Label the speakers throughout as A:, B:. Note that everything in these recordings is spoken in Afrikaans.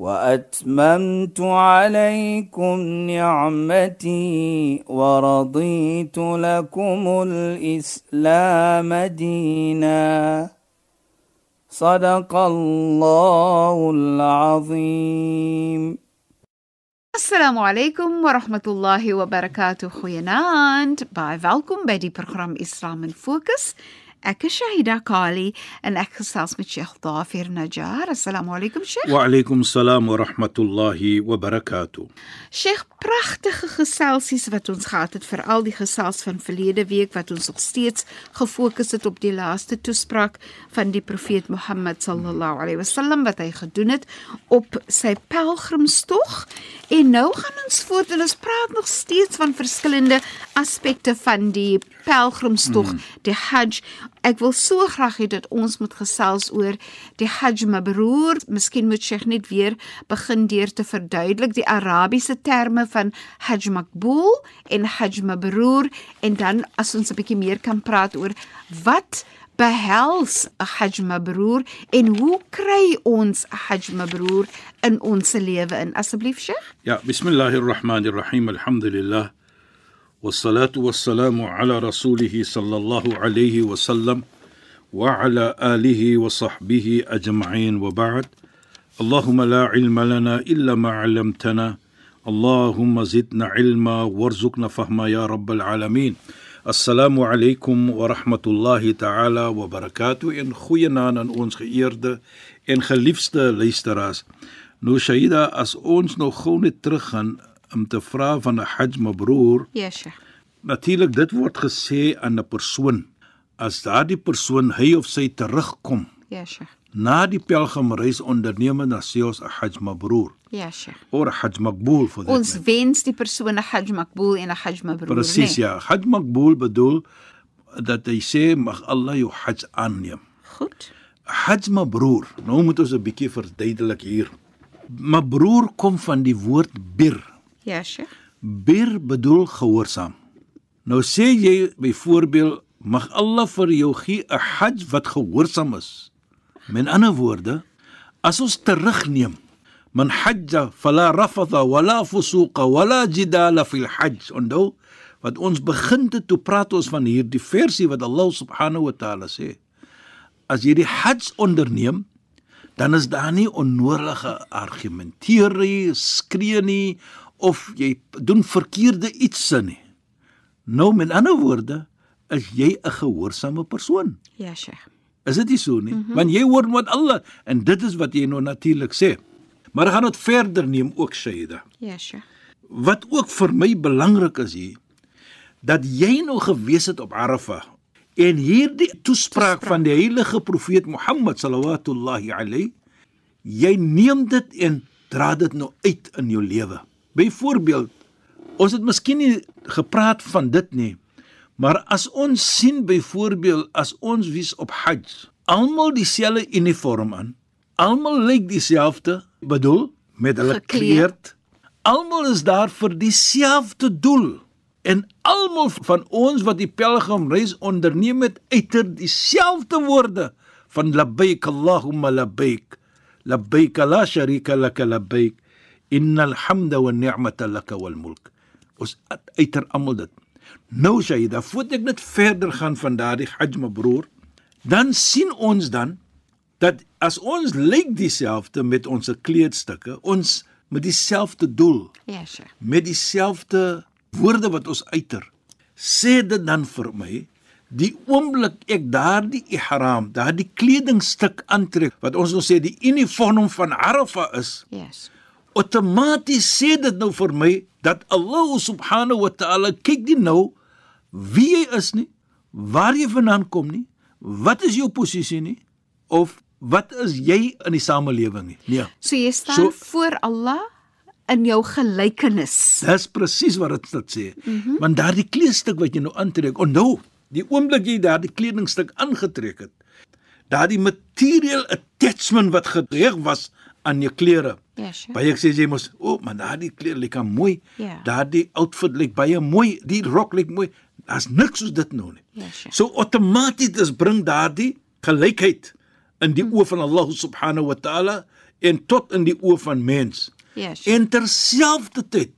A: واتممت عليكم نعمتي ورضيت لكم الاسلام دينا صدق الله العظيم
B: Assalamu alaykum wa rahmatullahi wa barakatuh. Goeienaand. Baie welkom by die program Islam in Fokus. Ek is Shahida Kali en ek gesels met Sheikh Dafir Najjar. Assalamu alaykum Sheikh.
C: وعليكم السلام ورحمة الله وبركاته
B: Sheikh, pragtige geselsies wat ons gehad het, veral die gesels van verlede week wat ons nog steeds gefokus het op die laaste toespraak van die profeet Mohammed sallallahu alaihi wasallam wat hy gedoen het op sy pelgrimstog. En nou gaan ons voort en ons praat nog steeds van verskillende aspekte van die pelgrimstog, mm. die Hajj. Ek wil so graag hê dat ons moet gesels oor die Hajj mabrur. Miskien moet Sheikh net weer begin deur te verduidelik die Arabiese terme van Hajj makbul en Hajj mabrur en dan as ons 'n bietjie meer kan praat oor wat behels 'n Hajj mabrur en hoe kry ons 'n Hajj mabrur in ons lewe in? Asseblief Sheikh.
C: يا بسم الله الرحمن الرحيم الحمد لله والصلاة والسلام على رسوله صلى الله عليه وسلم وعلى آله وصحبه أجمعين وبعد اللهم لا علم لنا إلا ما علمتنا اللهم زدنا علما وارزقنا فهما يا رب العالمين السلام عليكم ورحمة الله تعالى وبركاته إن goeienaand aan ons geëerde en geliefde luisteraars. Nou Shaida, as ons nou gou net teruggaan om te vra van 'n Hajj mabrur,
B: Ja, Sheikh.
C: Natuurlik dit word gesê aan 'n persoon as daardie persoon hy of sy terugkom
B: Ja, Sheikh.
C: na die pelgrimreis onderneem dan sê ons 'n Hajj mabrur
B: Ja, Sheikh.
C: of 'n Hajj maqbul vir dit.
B: Ons wens die persoon 'n Hajj makbul en 'n Hajj mabrur.
C: Presies
B: nee?
C: ja, Hajj maqbul bedoel dat hy sê mag Allah jou Hajj aanneem.
B: Goed.
C: Hajj mabrur. Nou moet ons 'n bietjie verduidelik hier. Mabrur kom van die woord bir
B: Ja, Sheikh.
C: Bir bedoel gehoorsaam. Nou sê jy byvoorbeeld mag Allah vir jou gee 'n Hajj wat gehoorsaam is. Met ander woorde, as ons terugneem Man hajja fala rafatha wala fusuqa wala jidala fil hajj. Onthou wat ons begin te toe praat ons van hierdie versie wat Allah subhanahu wa taala sê. As jy die hajj onderneem, dan is daar nie onnodige argumenteer nie, skree nie of jy doen verkeerde iets sin nie. Nou met ander woorde, is jy 'n gehoorsame persoon.
B: Ja, Sheikh.
C: Is dit nie so nie? Mm -hmm. Want jy hoor wat Allah en dit is wat jy nou natuurlik sê. Maar gaan dit verder neem ook Shaida.
B: Ja, Sheikh.
C: Wat ook vir my belangrik is hier dat jy nou gewees het op Arafah en hierdie toespraak, toespraak. van die heilige profeet Mohammed sallallahu alayhi jy neem dit en dra dit nou uit in jou lewe. Byvoorbeeld, ons het miskien nie gepraat van dit nie, maar as ons sien byvoorbeeld as ons wies op Hajj, almal dieselfde uniform aan, almal lyk dieselfde, bedoel met hulle
B: Gekleed.
C: kleed, almal is daar vir dieselfde doel. En almal van ons wat die pelgrimreis onderneem het, uiter dieselfde woorde van labbaik Allahumma labbaik. لبيك لا شريك لك لبيك إن الحمد والنعمة لك والملك ons uiter almal dit nou Shaida voordat ek net verder gaan van daardie Hajj broer dan sien ons dan dat as ons lyk dieselfde met ons kleedstukke ons met dieselfde doel
B: Ja, Sheikh.
C: met dieselfde woorde wat ons uiter sê dit dan vir my die oomblik ek daardie ihram daardie kledingstuk aantrek wat ons nou sê die uniform van Arafah is
B: Yes.
C: outomaties sê dit nou vir my dat Allah subhanahu wa ta'ala kyk nie nou wie jy is nie, waar jy vandaan kom nie, wat is jou posisie nie of wat is jy in die samelewing nie. Nee.
B: So jy staan so,
C: So-
B: voor Allah in jou gelykenis.
C: Dis presies wat dit dit sê. Mm -hmm. Want daardie kleedstuk wat jy nou aantrek, onthou, die oomblik jy daardie kledingstuk aangetrek het, daardie material attachment wat gedreig was aan jou klere.
B: Ja, sure.
C: Baie sê jy mos, o, oh, maar daardie klere lyk aan mooi.
B: Ja.
C: Daardie outfit lyk baie mooi. Die rok lyk mooi. Daar's niks soos dit nou nie.
B: Ja, sure.
C: So outomaties dis bring daardie gelykheid in die oë van Allah subhanahu wa taala en tot in die oë van mens.
B: Ja, sure.
C: En terselfdertyd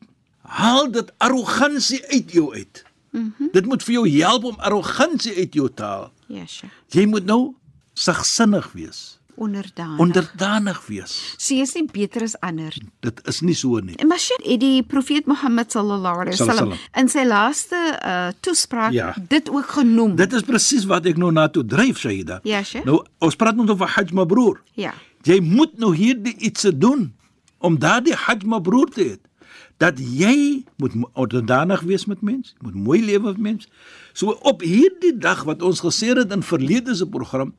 C: haal dit arrogansie uit jou uit. Mm
B: Mhm.
C: -hmm. Dit moet vir jou help om arrogansie uit jou te haal.
B: Ja, sure.
C: Jy moet nou sagsinnig wees,
B: Onderdanig.
C: onderdanig wees.
B: Sy is nie beter as ander.
C: Dit is nie so nie.
B: En maar sy het die profeet Mohammed sallallahu alaihi wasallam
C: Sallallahu alaihi
B: in sy laaste uh, toespraak
C: Ja.
B: dit ook genoem.
C: Dit is presies wat ek nou na toe dryf, Shaida.
B: Ja, Sheikh.
C: Nou, ons praat nou oor Hajj Mabrur.
B: ja.
C: Jy moet nou hierdie iets doen om daardie Hajj Mabrur te hê. Dat jy moet mo- onderdanig wees met mens, moet mooi lewe met mens. So op hierdie dag wat ons gesê het in verlede se program,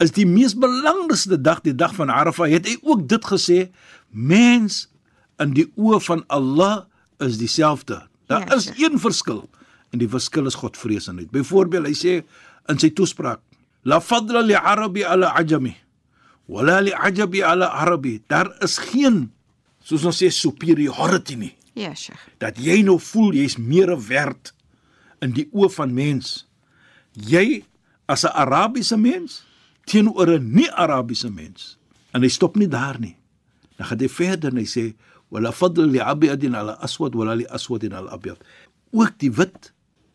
C: is die mees belangrikste dag, die dag van Arafah. Het hy ook dit gesê? Mens in die oë van Allah is dieselfde. Daar
B: Ja,
C: is
B: Sheikh.
C: een verskil en die verskil is godvreesenheid. Byvoorbeeld, hy sê in sy toespraak: "La fadla li Arabi ala ajami wa la li ajabi ala Arabi." Daar is geen soos ons sê superiority nie.
B: Ja, Sheikh.
C: Dat jy nou voel jy's meer werd in die oë van mens. Jy as 'n Arabiese mens teenoor 'n nie-Arabiese mens. En hy stop nie daar nie. Dan gaan hy verder en hy sê wala fadl li abyadin ala aswad wala li aswadin ala abyad. Ook die wit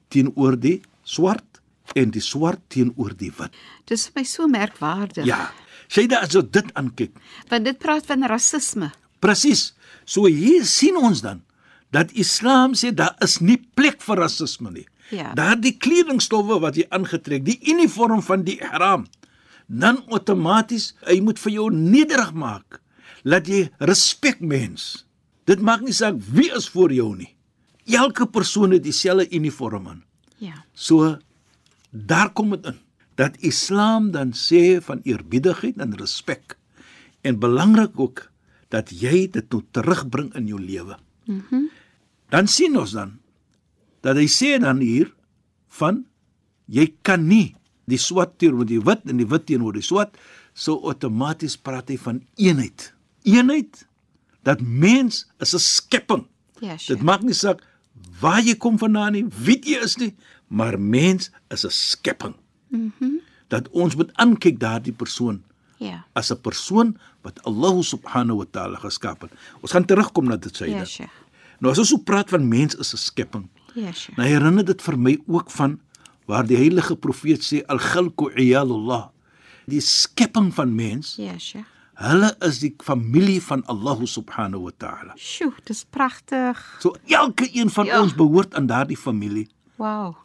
C: teenoor die swart en die swart teenoor die wit.
B: Dis vir my so merkwaardig.
C: Ja. Syda as jy dit aankyk.
B: Want dit praat van rasisme.
C: Presies. So hier sien ons dan dat Islam sê daar is nie plek vir rasisme nie.
B: Ja.
C: Daardie kledingstowwe wat jy aangetrek, die uniform van die ihram, dan outomaties hy moet vir jou nederig maak. Laat jy respek mens. Dit maak nie saak wie is voor jou nie. Elke persoon het dieselfde uniform aan.
B: Ja.
C: So daar kom dit in dat Islam dan sê van eerbiedigheid en respek. En belangrik ook dat jy dit nou terugbring in jou lewe. Mhm. Dan sien ons dan dat hy sê dan hier van jy kan nie die swart teenoor die wit en die wit teenoor die swart so outomaties praat hy van eenheid. Eenheid dat mens is 'n skepping.
B: Ja,
C: Dit
B: Sheikh.
C: maak nie saak waar jy kom vandaan nie, wie jy is nie, maar mens is 'n skepping. Mhm. Dat ons moet aankyk daardie persoon
B: Ja.
C: as 'n persoon wat Allah subhanahu wa ta'ala geskep het. Ons gaan terugkom na dit
B: Ja,
C: syde.
B: Sheikh.
C: Nou as ons so praat van mens is 'n skepping,
B: Ja, Sheikh.
C: nou herinner dit vir my ook van waar die heilige profeet sê al-khalqu iyalullah. Die skepping van mens,
B: Ja, Sheikh.
C: hulle is die familie van Allah subhanahu wa ta'ala.
B: Sjoe, dis pragtig.
C: So elke een van ja.
B: Ja.
C: ons behoort aan daardie familie.
B: Wow.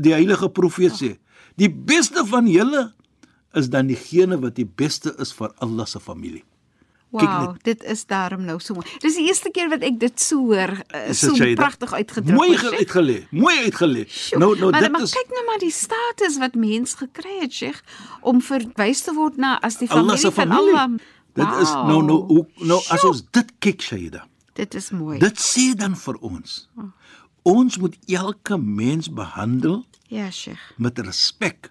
C: die heilige profeet sê, die beste van julle is dan diegene wat die beste is vir Allah se familie. Kyk
B: Wow, dit is daarom nou so mooi. Dis die eerste keer wat ek dit so hoor, uh,
C: Is dit,
B: so
C: Shaida?
B: pragtig uitgedruk.
C: Mooi
B: word,
C: ge-
B: Sheikh.
C: uitgelê, mooi uitgelê.
B: Sjoe,
C: Nou nou
B: maar,
C: dit
B: maar
C: is
B: kyk nou maar die status wat mens gekry het, Sheikh, om verwys te word na as die
C: Allah
B: familie
C: se
B: van
C: familie.
B: Allah.
C: Dit is nou nou hoe nou as ons dit kyk Shaida.
B: Dit is mooi.
C: Dit sê dan vir ons. Ons moet elke mens behandel
B: ja, Sheikh.
C: met respek.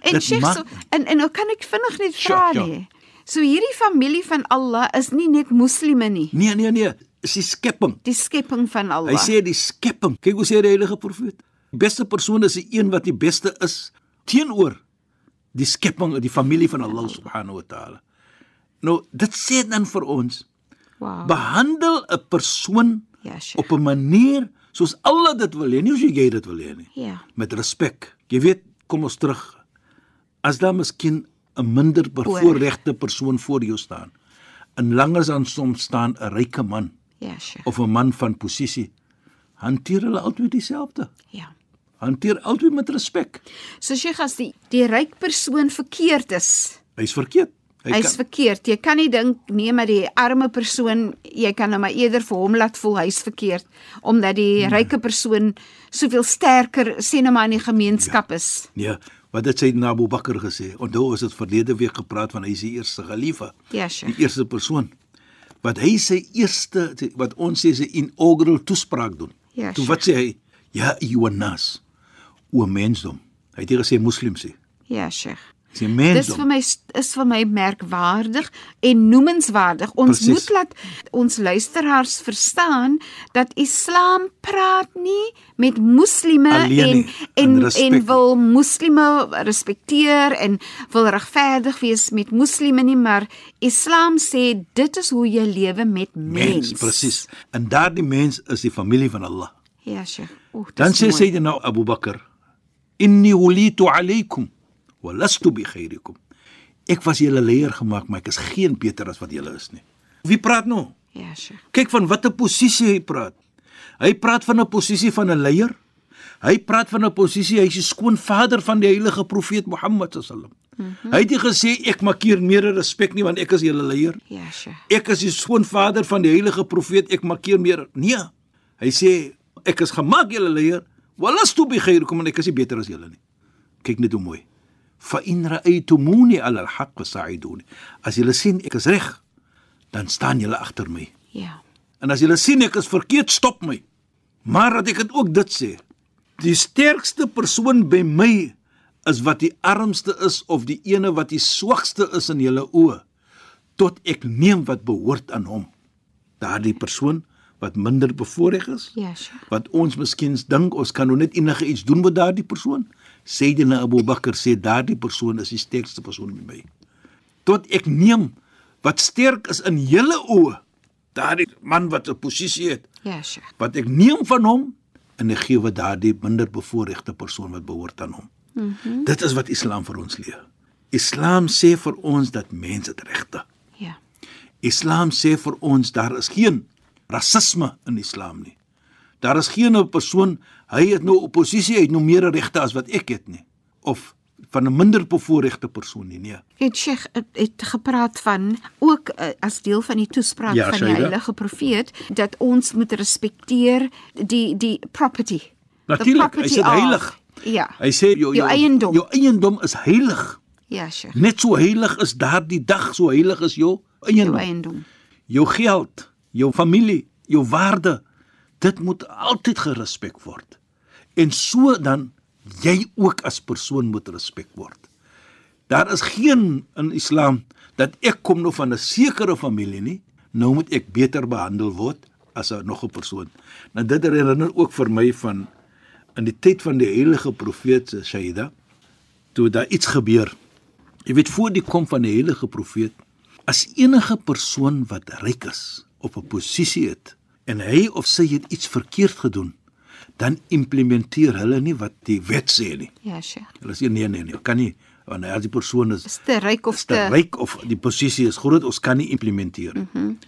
B: En
C: dit
B: Sheikh,
C: maak- Ja,
B: so, en en nou kan ek vinnig net
C: Sure,
B: vra
C: sure.
B: nie. So hierdie familie van Allah is nie net moslime nie,
C: Nee nee nee, is die skepping.
B: die skepping van Allah.
C: Hy sê die skepping. Kyk hoe sê die heilige profeet. Die beste persoon is die een wat die beste is teenoor die skepping, die familie van Allah subhanahu wa taala. Nou, dit sê dan vir ons,
B: wow.
C: behandel 'n persoon
B: Ja, Sheikh.
C: op 'n manier soos Allah dit wil hê, nie soos jy dit wil hê nie.
B: Ja.
C: Met respek. Jy weet, kom ons terug. As daar miskien 'n minder bevoorregte persoon voor jou staan, en langer dan soms staan 'n ryke man
B: Ja, Sheikh.
C: of 'n man van posisie, hanteer hulle altyd dieselfde.
B: Ja.
C: Hanteer altyd met respek.
B: So Sheikh as die die ryk persoon verkeerd is,
C: Hy's verkeerd.
B: Hy's verkeerd. Jy kan nie dink nee maar die arme persoon, jy kan nou maar eerder vir hom laat voel hy's verkeerd omdat die nee. ryke persoon soveel sterker sê nou maar in die gemeenskap ja. is.
C: Nee, wat het Sayyidina Abu Bakr gesê? Onthou ons het verlede week gepraat van hy is die eerste khalifa,
B: Ja, Sheikh.
C: die eerste persoon. wat hy sy eerste wat ons sê sy inaugural toespraak doen.
B: Ja,
C: Toe
B: Sheikh.
C: wat sê hy? Ja, Jonas. O mensdom. Hy het nie gesê moslims nie.
B: Ja, Sheikh.
C: Hy sê
B: Dis vir
C: mensdom.
B: my is vir my merkwaardig en noemenswaardig. Ons
C: Presies.
B: Precies. moet laat ons luisteraars verstaan dat Islam praat nie met moslime
C: Alleen
B: en
C: nie,
B: en
C: en respek
B: en
C: nie.
B: wil moslime respekteer en wil regverdig wees met moslime nie, maar Islam sê dit is hoe jy lewe met mens.
C: Mens, presies. En daardie mens is die familie van Allah.
B: Ja, Sheikh. Oeh, dis
C: Dan sê
B: mooi.
C: Sayyidina Abu Bakr: "Inni wulitu alaykum wa lastu bi khayrikum." Ek was julle leier gemaak, maar ek is geen beter as wat julle is nie. Wie praat nou?
B: Ja, Sheikh.
C: Kyk van watter posisie hy praat. Hy praat van 'n posisie van 'n leier. Hy praat van 'n posisie hy is die skoonvader van die heilige profeet Mohammed sallam. Mm
B: Mhm.
C: -hmm. Hy het nie gesê ek maak hier meer respek nie want ek is julle leier.
B: Ja, Sheikh.
C: Ek is die skoonvader van die heilige profeet, ek maak keer meer. Nee. Hy sê ek is gemaak julle leier. Walastu bi khairukum en ek is nie beter as julle nie. Kyk net hoe mooi. Fa in ra'aytumuni 'ala al-haqq sa'iduni. As julle sien ek is reg, dan staan julle agter my.
B: Ja.
C: En as julle sien ek is verkeerd, stop my. Maar dat ek dit ook dit sê. Die sterkste persoon by my is wat die armste is of die ene wat die swakste is in julle oë tot ek neem wat behoort aan hom. Daardie persoon wat minder bevoordeel is,
B: Ja, Sheikh.
C: wat ons miskien dink ons kan nou net enige iets doen met daardie persoon. Sayyidina Abu Bakr sê daardie persoon is die sterkste persoon by my. Tot ek neem wat sterk is in julle oë, daardie man wat 'n posisie het,
B: Ja, Sheikh.
C: wat ek neem van hom en ek gee wat daardie minder bevoorregte persoon wat behoort aan hom. Mm -hmm. Dit is wat Islam vir ons leer. Islam sê vir ons dat mense dit regte.
B: Ja.
C: Islam sê vir ons daar is geen rasisme in Islam nie. Daar is geen 'n persoon, hy het nou oppositie, hy het nou meer regte as wat ek het nie of van 'n minder bevoorregte persoon nie. Nee.
B: Het Sheikh het, het gepraat van ook eh, as deel van die toespraak
C: Ja,
B: ja, van die
C: Shaida.
B: heilige profeet dat ons moet respekteer die die property. The
C: Natuurlik, hy
B: property
C: sê dit
B: of-
C: heilig.
B: Ja.
C: Hy sê jou
B: Jou eiendom.
C: Jou eiendom is heilig.
B: Ja, Sheikh.
C: Net so heilig is daardie dag, so heilig is jou
B: Jou
C: eiendom.
B: eiendom.
C: Jou geld, jou familie, jou waarde, dit moet altyd gerespek word. En so dan jy ook as persoon moet respek word. Daar is geen in Islam dat ek kom nou van 'n sekere familie nie, nou moet ek beter behandel word as 'n nog 'n persoon. Nou dit herinner ook vir my van in die tyd van die heilige profeet Shaida toe daar iets gebeur. Jy weet voor die kom van die heilige profeet, as enige persoon wat ryk is op 'n posisie het en hy of sy het iets verkeerd gedoen, dan implementeer hulle nie wat die wet sê nie.
B: Ja, Sheikh.
C: Hulle sê nee nee nee, kan nie want as die persoon is
B: Is te ryk of
C: is te
B: te
C: ryk of die posisie is groot, ons kan nie implementeer nie. Mm
B: Mhm.
C: -hmm.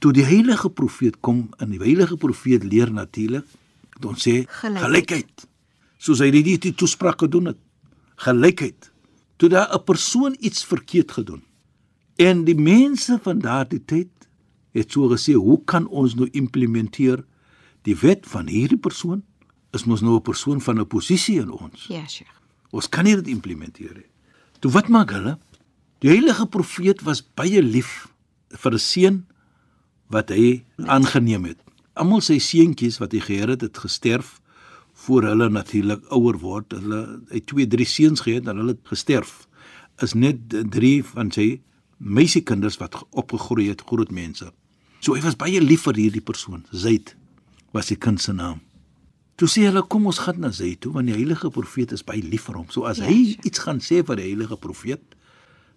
C: Toe die heilige profeet kom en die heilige profeet leer natuurlik, het ons sê
B: Gelykheid.
C: gelykheid. Soos hy dit die toespraak gedoen het. Gelykheid. Toe daar 'n persoon iets verkeerd gedoen. En die mense van daardie tyd het so gesê, hoe kan ons nou implementeer die wet van hierdie persoon? Is mos nou 'n persoon van 'n posisie in ons.
B: Ja, Sheikh.
C: Ons kan nie dit implementeer nie. Toe wat maak hulle? Die heilige profeet was baie lief vir 'n seun wat hy aangeneem het. Almal sy seentjies wat hy geheer het, het gesterf voor hulle natuurlik ouer word. Hulle hy het twee, drie seuns gehad en hulle het gesterf. Is net d- drie van sy meisiekinders wat ge- opgegroei het groot mense. So hy was baie lief vir hierdie persoon. Zaid was die kind se naam. Toe sê hulle kom ons gaan na sy toe want die heilige profeet is baie lief vir hom. So as
B: Ja,
C: ja, hy iets gaan sê vir die heilige profeet,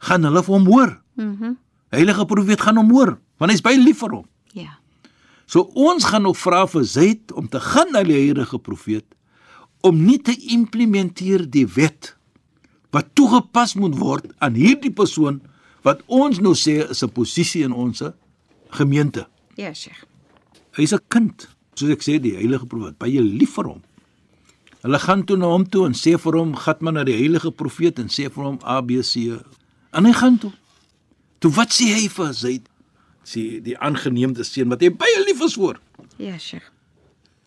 C: gaan hulle vir hom hoor. Mhm. Mm heilige profeet gaan hom hoor want hy's baie lief vir hom.
B: Ja.
C: So ons gaan nog vra vir Zaid om te gaan na die heilige profeet om nie te implementeer die wet wat toegepas moet word aan hierdie persoon wat ons nou sê is 'n posisie in ons gemeente.
B: Ja, Sheikh.
C: Hy's 'n kind. Soos ek sê, die heilige profeet, baie lief vir hom. Hulle gaan toe na hom toe en sê vir hom, "Gat maar na die heilige profeet en sê vir hom ABC." E." En hy gaan toe. Toe wat sê hy vir Zaid? Sê die aangeneemde seun wat hy baie lief is vir.
B: Ja, Sheikh.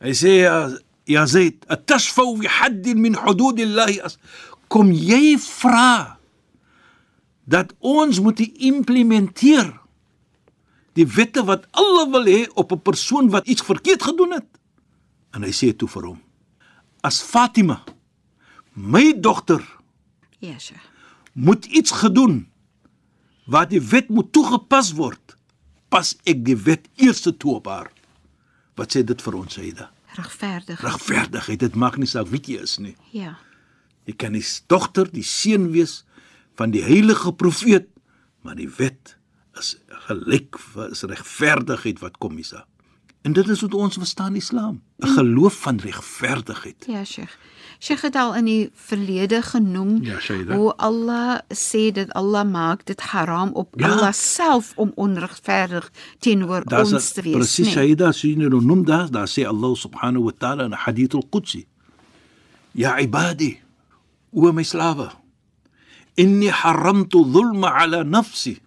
C: Hy sê ja, ja Zaid, "Atashfau bi hadd min hudud Allah." as- Kom jy vra dat ons moet die implementeer die wette wat Allah wil hê op 'n persoon wat iets verkeerd gedoen het. En hy sê toe vir hom: "As Fatima, my dogter,
B: Yesh.
C: moet iets gedoen waar die wet moet toegepas word, pas ek die wet eers toe op haar." Wat sê dit vir ons, Saida?
B: Regverdig.
C: Regverdigheid, dit maak nie saak wie jy is nie.
B: Ja.
C: Jy kan die dogter, die seun wees van die heilige profeet, maar die wet is gelyk is regverdigheid wat kom Isa. En dit is hoe ons verstaan Islam, 'n geloof van regverdigheid.
B: Ja, Sheikh. Sheikh het al in die verlede genoem
C: Ja, Shaida.
B: hoe Allah sê dat Allah maak dit haram op
C: Ja.
B: ja. Allah self om onregverdig teenoor
C: Daar's
B: ons te wees.
C: presies
B: nee.
C: Shaida sien nou noem daar, daar sê Allah subhanahu wa ta'ala in hadith al-Qudsi. Ya ibadi, o my slawe, inni haramtu dhulma ala nafsi.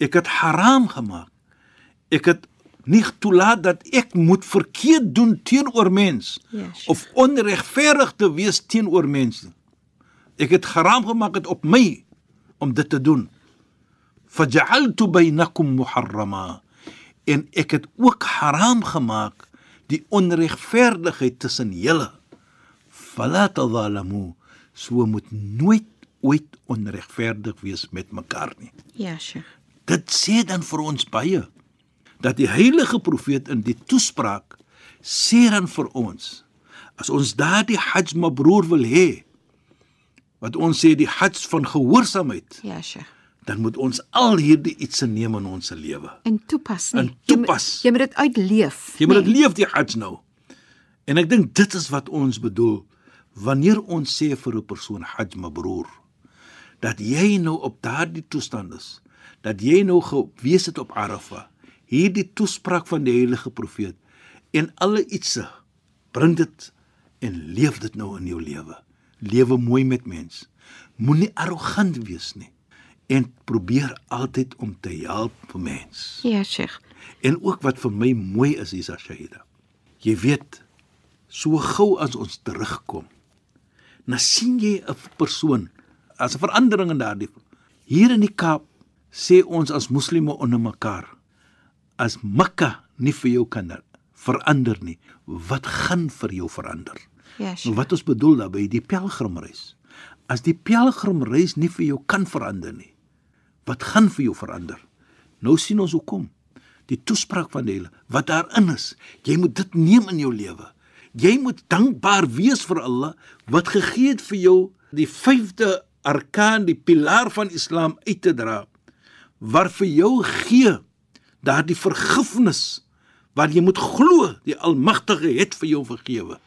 C: Ek het haram gemaak. Ek het nie toelaat dat ek moet verkeerd doen teenoor mens
B: Ja, Sheikh.
C: of onregverdig te wees teenoor mense. Ek het haram gemaak het op my om dit te doen. Faj'altu bainakum muharrama. En ek het ook haram gemaak die onregverdigheid tussen julle. Fala tadhalamu. So moet nooit ooit onregverdig wees met mekaar nie.
B: Ja, Sheikh.
C: Dit sê dan vir ons baie dat die heilige profeet in die toespraak sê dan vir ons as ons daardie Hajj mabrur wil hê wat ons sê die Hajj van gehoorsaamheid
B: Ja, Sheikh.
C: dan moet ons al hierdie iets neem in ons lewe
B: En toepas nie.
C: En toepas.
B: Jy moet, jy moet dit uitleef.
C: Jy moet
B: nee.
C: dit leef die Hajj nou. En ek dink dit is wat ons bedoel wanneer ons sê vir 'n persoon Hajj mabrur dat jy nou op daardie toestand is, dat jy nou gewees het op Arafah, hierdie toespraak van die heilige profeet en alle ietsse bring dit en leef dit nou in jou lewe. Lewe mooi met mens. Moenie arrogant wees nie en probeer altyd om te help vir mens.
B: Ja, Sheikh.
C: En ook wat vir my mooi is, Isa Shahida. Jy weet, so gou as ons terugkom, dan sien jy 'n persoon as 'n verandering in daardie. Hier in die Kaap sê ons as moslimme onder mekaar, as Mekka nie vir jou kan verander nie, wat gaan vir jou verander?
B: Ja,
C: Nou
B: Sheikh.
C: wat ons bedoel daarmee, die pelgrimreis. As die pelgrimreis nie vir jou kan verander nie, wat gaan vir jou verander? Nou sien ons hoekom. Die toespraak van die Here wat daarin is, jy moet dit neem in jou lewe. Jy moet dankbaar wees vir Allah wat gegee het vir jou die vyfde arkaan, die pilaar van Islam uit te dra wat vir jou gee daardie vergifnis wat jy moet glo die Almagtige het vir jou vergewe.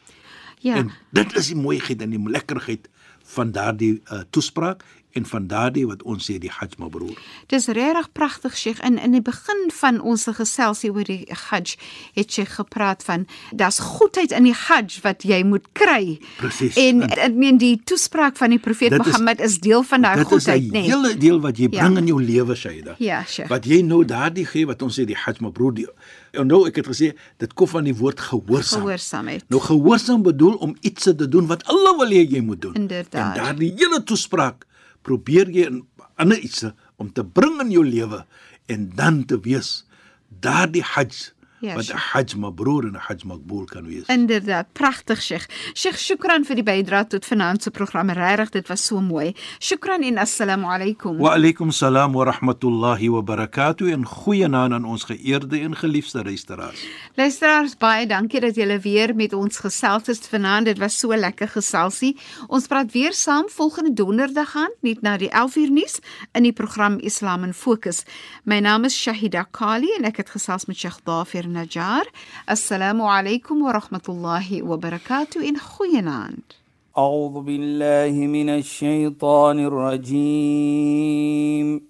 B: Ja.
C: En dit is die mooiheid en die lekkerheid van daardie uh, toespraak en van daardie wat ons sê die Hajj mabrur.
B: Dis regtig pragtig, Sheikh. In in die begin van ons geselsie oor die Hajj het Sheikh gepraat van daar's goedheid in die Hajj wat jy moet kry.
C: Presies.
B: En eh,
C: En
B: ek meen die toespraak van die profeet
C: Dit is-
B: Mohammed is, deel van daai
C: Dit is 'n
B: goedheid, nê? Nee.
C: hele deel wat jy
B: Ja.
C: bring in jou lewe, Shaida.
B: Ja, Sheikh.
C: Wat jy nou daardie gee wat ons sê die Hajj mabrur. die- En nou ek het gesê dit kom van die woord gehoorsaam.
B: Gehoorsaamheid.
C: Nou gehoorsaam bedoel om iets te doen wat Allah wil hê jy moet doen.
B: Inderdaad.
C: En daardie hele toespraak probeer jy in ander iets om te bring in jou lewe en dan te wees daardie Hajj
B: Ja,
C: wat 'n
B: Sheikh.
C: Hajj mabrur en 'n Hajj maqbul kan wees.
B: Inderdaad, pragtig, Sheikh. Sheikh, shukran vir die bydrae tot vanaand se program. Regtig, dit was so mooi. Shukran en assalamu alaykum.
C: Wa alaykum salaam wa rahmatullahi wa barakatuh en goeienaand aan ons geëerde en geliefde luisteraars.
B: Luisteraars, baie dankie dat julle weer met ons gesels het vanaand. Dit was so lekker geselsie. Ons praat weer saam volgende donderdag aan, net na die 11uur nuus in die program Islam in Fokus. My naam is Shahida Kali en ek het gesels met Sheikh Dafer Najjar. Assalamu alaykum wa rahmatullahi wa barakatuh en goeienaand.
A: أعوذ بالله من الشيطان الرجيم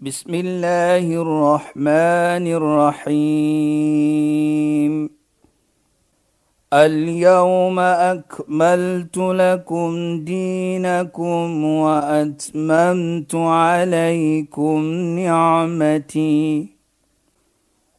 A: بسم الله الرحمن الرحيم اليوم أكملت لكم دينكم وأتممت عليكم نعمتي